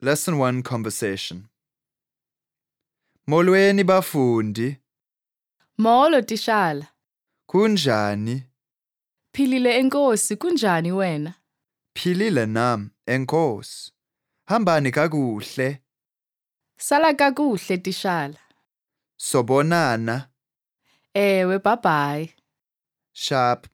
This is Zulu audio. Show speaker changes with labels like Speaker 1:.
Speaker 1: Lesson 1 Conversation. Molweni bafundi,
Speaker 2: Molo Tishala.
Speaker 1: kunjani?
Speaker 2: Philile enkosi kunjani wena?
Speaker 1: Philile nami, enkosi. Hambani kakuhle,
Speaker 2: Sala kakuhle Tishala.
Speaker 1: sobonana.
Speaker 2: Ewe bye bye.
Speaker 1: Sharp